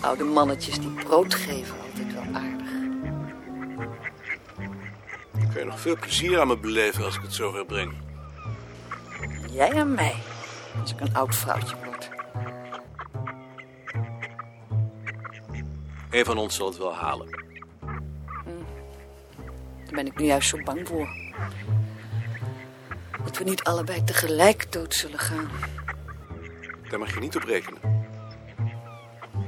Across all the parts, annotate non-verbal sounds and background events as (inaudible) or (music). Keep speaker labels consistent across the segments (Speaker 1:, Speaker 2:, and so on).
Speaker 1: Oude mannetjes die brood geven altijd wel aardig.
Speaker 2: Dan kun je nog veel plezier aan me beleven als ik het zover breng.
Speaker 1: Jij en mij, als ik een oud vrouwtje word.
Speaker 2: Een van ons zal het wel halen.
Speaker 1: Daar ben ik nu juist zo bang voor. Dat we niet allebei tegelijk dood zullen gaan.
Speaker 2: Daar mag je niet op rekenen.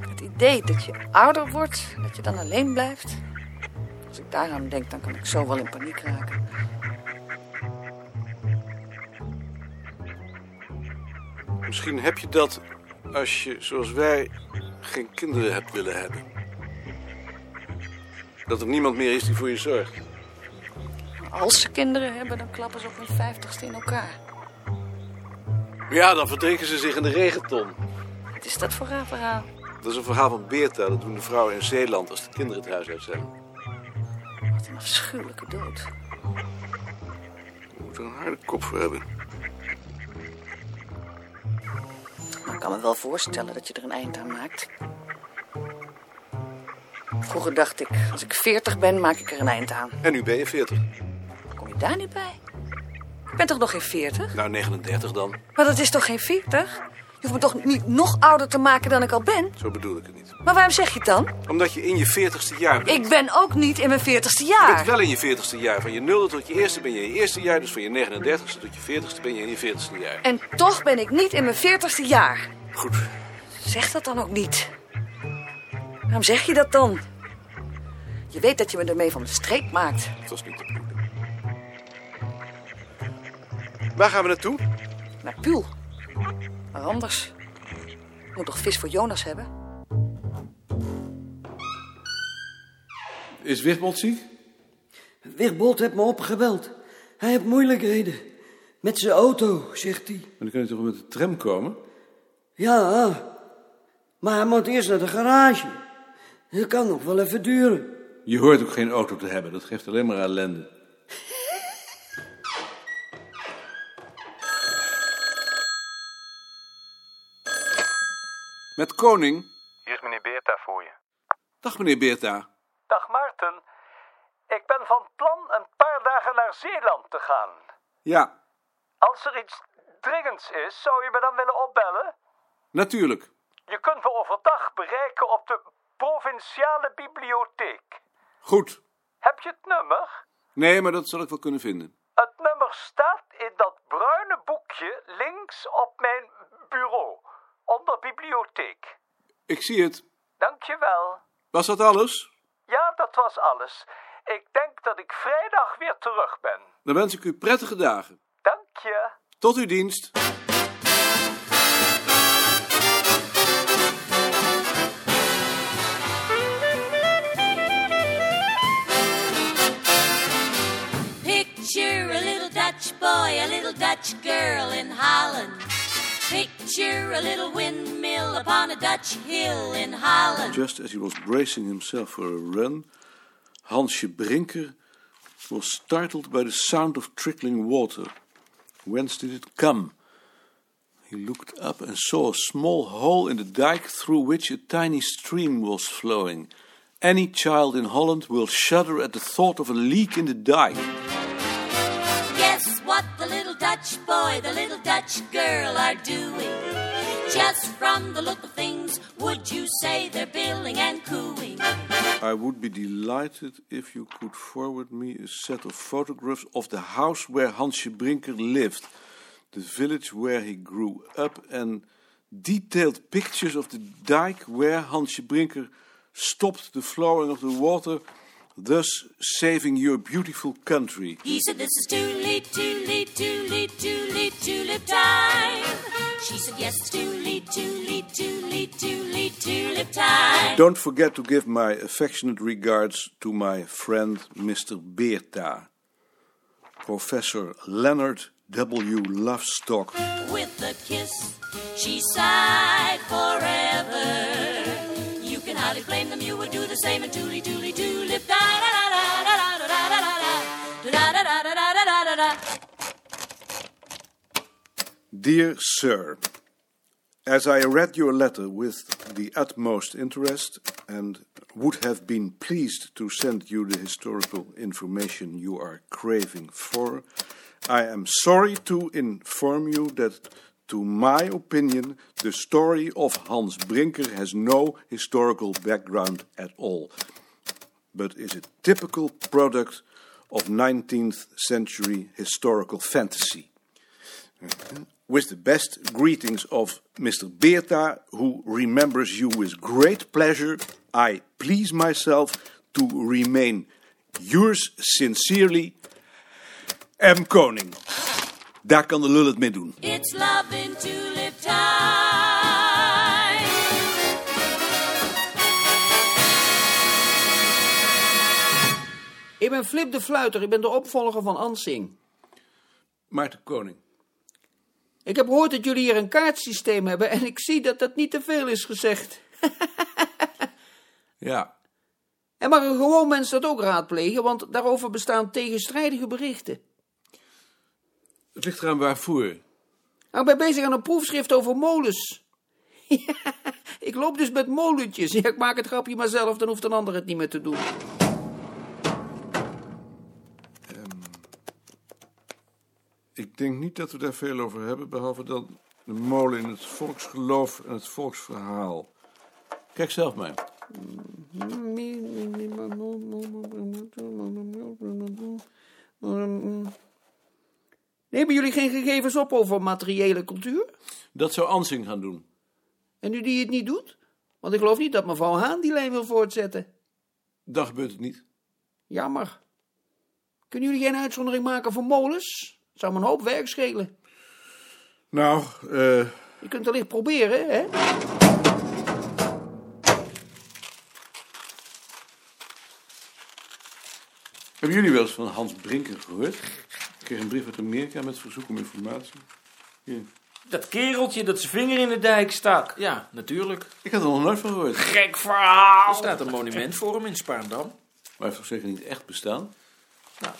Speaker 1: Het idee dat je ouder wordt, dat je dan alleen blijft. Als ik daaraan denk, dan kan ik zo wel in paniek raken.
Speaker 2: Misschien heb je dat als je, zoals wij, geen kinderen hebt willen hebben. Dat er niemand meer is die voor je zorgt.
Speaker 1: Maar als ze kinderen hebben, dan klappen ze op hun vijftigste in elkaar.
Speaker 2: Ja, dan verdrinken ze zich in de regenton.
Speaker 1: Wat is dat voor raar verhaal?
Speaker 2: Dat is een verhaal van Beerta. Dat doen de vrouwen in Zeeland als de kinderen het huis uit zijn.
Speaker 1: Wat een afschuwelijke dood.
Speaker 2: Je moet er een harde kop voor hebben.
Speaker 1: Maar ik kan me wel voorstellen dat je er een eind aan maakt. Vroeger dacht ik, als ik veertig ben, maak ik er een eind aan.
Speaker 2: En nu ben je 40.
Speaker 1: Kom je daar niet bij? Ik ben toch nog geen veertig?
Speaker 2: Nou, 39 dan.
Speaker 1: Maar dat is toch geen veertig? Je hoeft me toch niet nog ouder te maken dan ik al ben?
Speaker 2: Zo bedoel ik het niet.
Speaker 1: Maar waarom zeg je het dan?
Speaker 2: Omdat je in je 40ste jaar bent.
Speaker 1: Ik ben ook niet in mijn veertigste
Speaker 2: Je bent
Speaker 1: jaar.
Speaker 2: wel in je 40ste jaar. Van je nulde tot je eerste ben je in je eerste jaar. Dus van je 39ste tot je 40ste ben je in je 40ste jaar.
Speaker 1: En toch ben ik niet in mijn veertigste jaar.
Speaker 2: Goed.
Speaker 1: Zeg dat dan ook niet. Waarom zeg je dat dan? Je weet dat je me ermee van de streep maakt.
Speaker 2: Dat was niet de bedoeling. Waar gaan we naartoe?
Speaker 1: Naar Puul. Maar anders. Ik moet toch vis voor Jonas hebben?
Speaker 2: Is Wigbold ziek?
Speaker 3: Wigbold heeft me opgebeld. Hij heeft moeilijkheden. Met zijn auto, zegt hij.
Speaker 2: Maar dan kan je toch met de tram komen?
Speaker 3: Ja, ah. maar hij moet eerst naar de garage. Dat kan nog wel even duren.
Speaker 2: Je hoort ook geen auto te hebben. Dat geeft alleen maar ellende. Met Koning.
Speaker 4: Hier is meneer Beerta voor je.
Speaker 2: Dag meneer Beerta.
Speaker 4: Dag Maarten. Ik ben van plan een paar dagen naar Zeeland te gaan.
Speaker 2: Ja,
Speaker 4: Als er iets dringends is, zou je me dan willen opbellen?
Speaker 2: natuurlijk.
Speaker 4: Je kunt me overdag bereiken op de provinciale bibliotheek.
Speaker 2: Goed.
Speaker 4: Heb je het nummer?
Speaker 2: Nee, maar dat zal ik wel kunnen vinden.
Speaker 4: Het nummer staat in dat bruine boekje links op mijn bureau, onder bibliotheek.
Speaker 2: Ik zie het.
Speaker 4: Dankjewel.
Speaker 2: Was dat alles?
Speaker 4: Ja, dat was alles. Ik denk dat ik vrijdag weer terug ben.
Speaker 2: Dan wens ik u prettige dagen.
Speaker 4: Dank je.
Speaker 2: Tot uw dienst.
Speaker 5: Picture a little Dutch boy, a little Dutch girl in Holland. Picture a little windmill upon a Dutch hill in Holland.
Speaker 2: Just as he was bracing himself for a run, Hansje Brinker was startled by the sound of trickling water. Whence did it come? He looked up and saw a small hole in the dike through which a tiny stream was flowing. Any child in Holland will shudder at the thought of a leak in the dike.
Speaker 5: Guess what the little Dutch boy, the little Dutch girl are doing? Just from the look of things, would you say they're billing and cooing?
Speaker 2: I would be delighted if you could forward me a set of photographs of the house where Hansje Brinker lived, the village where he grew up, and detailed pictures of the dike where Hansje Brinker stopped the flowing of the water, thus saving your beautiful country.
Speaker 5: He said, This is too late, too late, too late, too late, tulip time. She said, Yes, it's too late, too late, too late, too late, tulip time.
Speaker 2: Don't forget to give my affectionate regards to my friend Mr. Beerta, Professor Leonard W. Lovestock.
Speaker 5: With a kiss, she sighed forever. You can hardly blame them, you would do the same and tooly, tooly, tulip. Da da da da da da da da da da da da da da da da da da da.
Speaker 2: Dear Sir, As I read your letter with the utmost interest and would have been pleased to send you the historical information you are craving for, I am sorry to inform you that, to my opinion, the story of Hans Brinker has no historical background at all, but is a typical product of 19th century historical fantasy. With the best greetings of Mr. Beerta, who remembers you with great pleasure, I please myself to remain yours sincerely, M. Koning. Daar kan de lul het mee doen.
Speaker 5: It's love in tulip time.
Speaker 6: Ik ben Flip de Fluiter, ik ben de opvolger van Ansing.
Speaker 2: Maarten Koning.
Speaker 6: Ik heb gehoord dat jullie hier een kaartsysteem hebben en ik zie dat dat niet te veel is gezegd.
Speaker 2: Ja,
Speaker 6: En mag een gewoon mens dat ook raadplegen, want daarover bestaan tegenstrijdige berichten.
Speaker 2: het ligt eraan waarvoor.
Speaker 6: Nou, ik ben bezig aan een proefschrift over molens. (laughs) ik loop dus met molentjes. Ja, ik maak het grapje maar zelf, dan hoeft een ander het niet meer te doen.
Speaker 2: Ik denk niet dat we daar veel over hebben, behalve dan de molen in het volksgeloof en het volksverhaal. Kijk zelf maar.
Speaker 6: Nemen jullie geen gegevens op over materiële cultuur?
Speaker 2: Dat zou Ansing gaan doen.
Speaker 6: En nu die het niet doet? Want ik geloof niet dat mevrouw Haan die lijn wil voortzetten.
Speaker 2: Dan gebeurt het niet.
Speaker 6: Jammer. Kunnen jullie geen uitzondering maken voor molens? Zou me een hoop werk schelen.
Speaker 2: Nou, eh,
Speaker 6: Je kunt het licht proberen, hè?
Speaker 2: hebben jullie wel eens van Hans Brinker gehoord? Ik kreeg een brief uit Amerika met verzoek om informatie. Hier.
Speaker 7: Dat kereltje dat zijn vinger in de dijk stak. Ja, natuurlijk.
Speaker 2: Ik had er nog nooit van gehoord. Maar
Speaker 7: Gek verhaal. Er staat een monument voor hem in Spaandam.
Speaker 2: hij heeft toch zeker niet echt bestaan?
Speaker 7: Nou,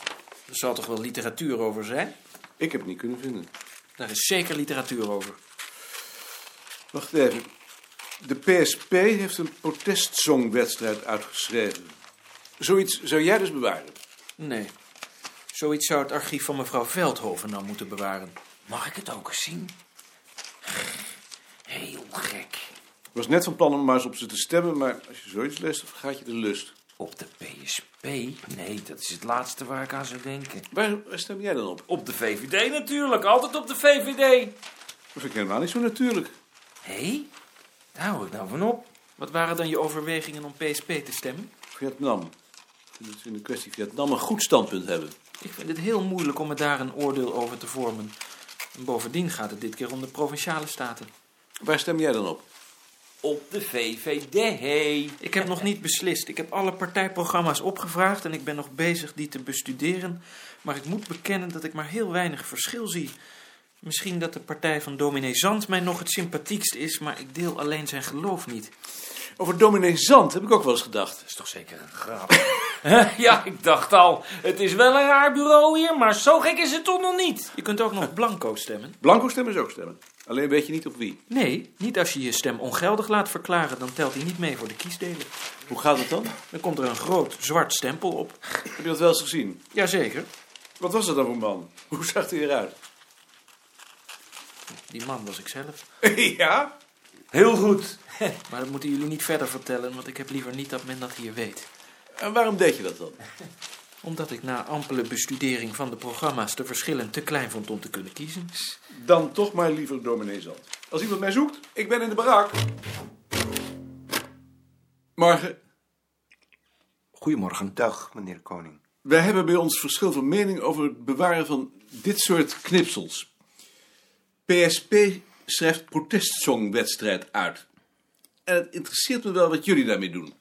Speaker 7: er zal toch wel literatuur over zijn?
Speaker 2: Ik heb het niet kunnen vinden.
Speaker 7: Daar is zeker literatuur over.
Speaker 2: Wacht even. De PSP heeft een protestsongwedstrijd uitgeschreven. Zoiets zou jij dus bewaren.
Speaker 7: Nee. Zoiets zou het archief van mevrouw Veldhoven dan moeten bewaren. Mag ik het ook eens zien? Heel gek.
Speaker 2: Ik was net van plan om maar eens op ze te stemmen, maar als je zoiets leest, dan gaat je de lust.
Speaker 7: Op de PSP? Nee, dat is het laatste waar ik aan zou denken.
Speaker 2: Waar, waar stem jij dan op?
Speaker 7: Op de VVD natuurlijk, altijd op de VVD.
Speaker 2: Dat vind ik helemaal niet zo natuurlijk.
Speaker 7: Hé, daar hou ik nou van op. Wat waren dan je overwegingen om PSP te stemmen?
Speaker 2: Vietnam. Ik vind dat we in de kwestie Vietnam een goed standpunt hebben.
Speaker 7: Ik vind het heel moeilijk om me daar een oordeel over te vormen. En bovendien gaat het dit keer om de provinciale staten.
Speaker 2: Waar stem jij dan op?
Speaker 7: Op de VVD. Ik heb nog niet beslist. Ik heb alle partijprogramma's opgevraagd en ik ben nog bezig die te bestuderen. Maar ik moet bekennen dat ik maar heel weinig verschil zie. Misschien dat de partij van dominee Zand mij nog het sympathiekst is, maar ik deel alleen zijn geloof niet.
Speaker 2: Over dominee Zand heb ik ook wel eens gedacht.
Speaker 7: is toch zeker een grap? (laughs) ja, ik dacht al. Het is wel een raar bureau hier, maar zo gek is het toch nog niet. Je kunt ook nog blanco stemmen.
Speaker 2: Blanco stemmen is ook stemmen. Alleen weet je niet op wie.
Speaker 7: Nee, niet als je je stem ongeldig laat verklaren, dan telt hij niet mee voor de kiesdelen.
Speaker 2: Hoe gaat het dan?
Speaker 7: Dan komt er een groot zwart stempel op.
Speaker 2: Heb je dat wel eens gezien?
Speaker 7: Jazeker,
Speaker 2: Wat was dat dan voor man? Hoe zag hij eruit?
Speaker 7: die man was ik zelf.
Speaker 2: (laughs) ja?
Speaker 7: Heel goed. maar dat moeten jullie niet verder vertellen, want ik heb liever niet dat men dat hier weet.
Speaker 2: En waarom deed je dat dan?
Speaker 7: Omdat ik na ampele bestudering van de programma's de verschillen te klein vond om te kunnen kiezen.
Speaker 2: Dan toch maar liever dominee Zand. Als iemand mij zoekt, ik ben in de barak. Morgen.
Speaker 7: Goedemorgen.
Speaker 8: Dag, meneer Koning.
Speaker 2: Wij hebben bij ons verschil van mening over het bewaren van dit soort knipsels. PSP schrijft protestsongwedstrijd uit. En het interesseert me wel wat jullie daarmee doen.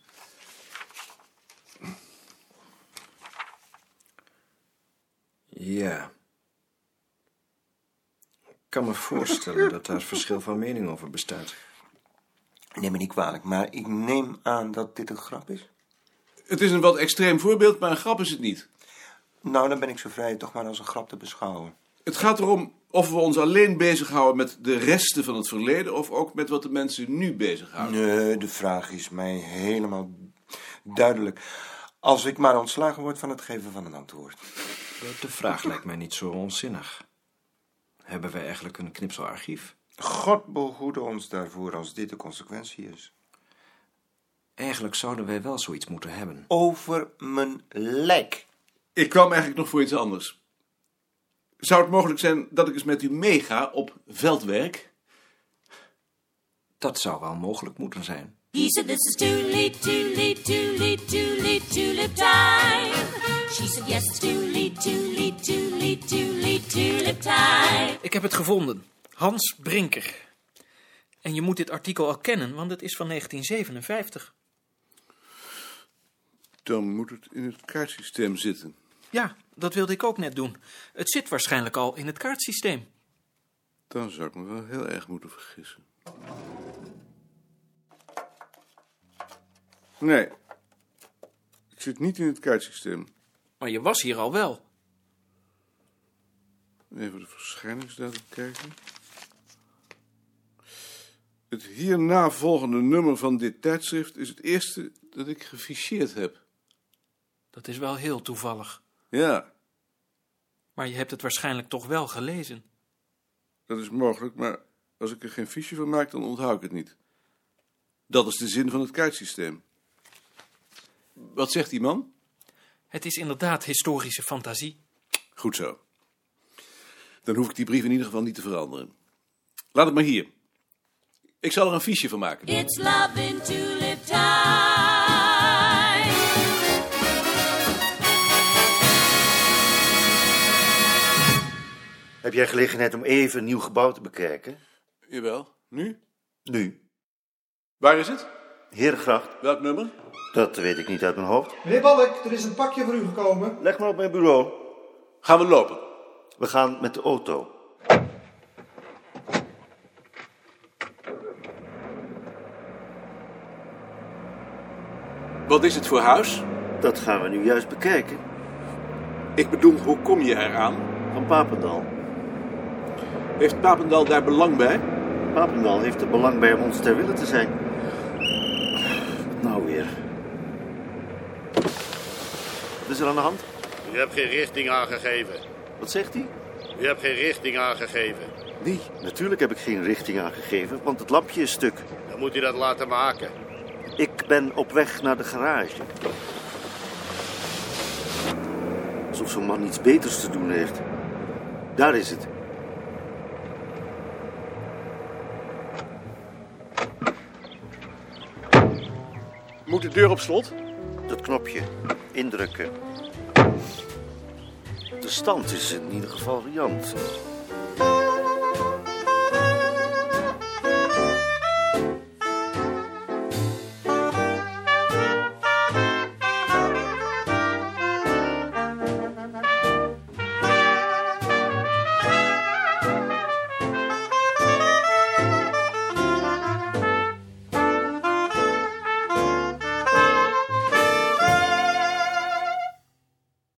Speaker 8: Ja. Ik kan me voorstellen dat daar verschil van mening over bestaat. Neem me niet kwalijk, maar ik neem aan dat dit een grap is.
Speaker 2: Het is een wat extreem voorbeeld, maar een grap is het niet.
Speaker 8: Nou, dan ben ik zo vrij het toch maar als een grap te beschouwen.
Speaker 2: Het gaat erom of we ons alleen bezighouden met de resten van het verleden... of ook met wat de mensen nu bezighouden.
Speaker 8: Nee, Oh, de vraag is mij helemaal duidelijk. Als ik maar ontslagen word van het geven van een antwoord.
Speaker 9: De vraag lijkt mij niet zo onzinnig. Hebben wij eigenlijk een knipselarchief?
Speaker 8: God behoede ons daarvoor als dit de consequentie is.
Speaker 9: Eigenlijk zouden wij wel zoiets moeten hebben.
Speaker 7: Oh,
Speaker 8: Over mijn lijk.
Speaker 2: Ik kwam eigenlijk nog voor iets anders. Zou het mogelijk zijn dat ik eens met u meega op veldwerk?
Speaker 9: Dat zou wel mogelijk moeten zijn.
Speaker 5: He said, This is too late, too late, too late, too late, too late time. She said, Yes, it's too late, too late, too late, too late, too late time.
Speaker 7: Ik heb het gevonden. Hans Brinker. En je moet dit artikel al kennen, want het is van 1957.
Speaker 2: Dan moet het in het kaartsysteem zitten.
Speaker 7: Ja, dat wilde ik ook net doen. Het zit waarschijnlijk al in het kaartsysteem.
Speaker 2: Dan zou ik me wel heel erg moeten vergissen. Nee, het zit niet in het kaartsysteem.
Speaker 7: Maar je was hier al wel.
Speaker 2: Even de verschijningsdatum kijken. Het hierna volgende nummer van dit tijdschrift is het eerste dat ik geficheerd heb.
Speaker 7: Dat is wel heel toevallig.
Speaker 2: Ja,
Speaker 7: Maar je hebt het waarschijnlijk toch wel gelezen.
Speaker 2: dat is mogelijk, maar als ik er geen fiche van maak, dan onthoud ik het niet. Dat is de zin van het kaartsysteem. Wat zegt die man?
Speaker 7: Het is inderdaad historische fantasie.
Speaker 2: Goed zo. Dan hoef ik die brief in ieder geval niet te veranderen. Laat het maar hier. Ik zal er een fiche van maken.
Speaker 5: It's love in tulip time.
Speaker 10: Heb jij gelegenheid om even een nieuw gebouw te bekijken?
Speaker 2: Jawel. Nu?
Speaker 10: Nu.
Speaker 2: Waar is het?
Speaker 10: Herengracht,
Speaker 2: Welk nummer?
Speaker 10: dat weet ik niet uit mijn hoofd.
Speaker 11: Meneer Balk, er is een pakje voor u gekomen.
Speaker 10: Leg maar op mijn bureau.
Speaker 2: Gaan we lopen.
Speaker 10: We gaan met de auto.
Speaker 2: Wat is het voor huis?
Speaker 10: Dat gaan we nu juist bekijken.
Speaker 2: Ik bedoel, hoe kom je eraan?
Speaker 10: Van Papendal.
Speaker 2: Heeft Papendal daar belang bij?
Speaker 10: Papendal heeft er belang bij om ons ter wille te zijn. Wat Nou weer. Wat is er aan de hand?
Speaker 12: U hebt geen richting aangegeven.
Speaker 10: Wat zegt hij?
Speaker 12: U hebt geen richting aangegeven.
Speaker 10: Nee, natuurlijk heb ik geen richting aangegeven, want het lampje is stuk.
Speaker 12: Dan moet u dat laten maken.
Speaker 10: Ik ben op weg naar de garage. Alsof zo'n man iets beters te doen heeft. Daar is het.
Speaker 2: Moet de deur op slot?
Speaker 10: Dat knopje. Indrukken. De stand is in ieder geval riant.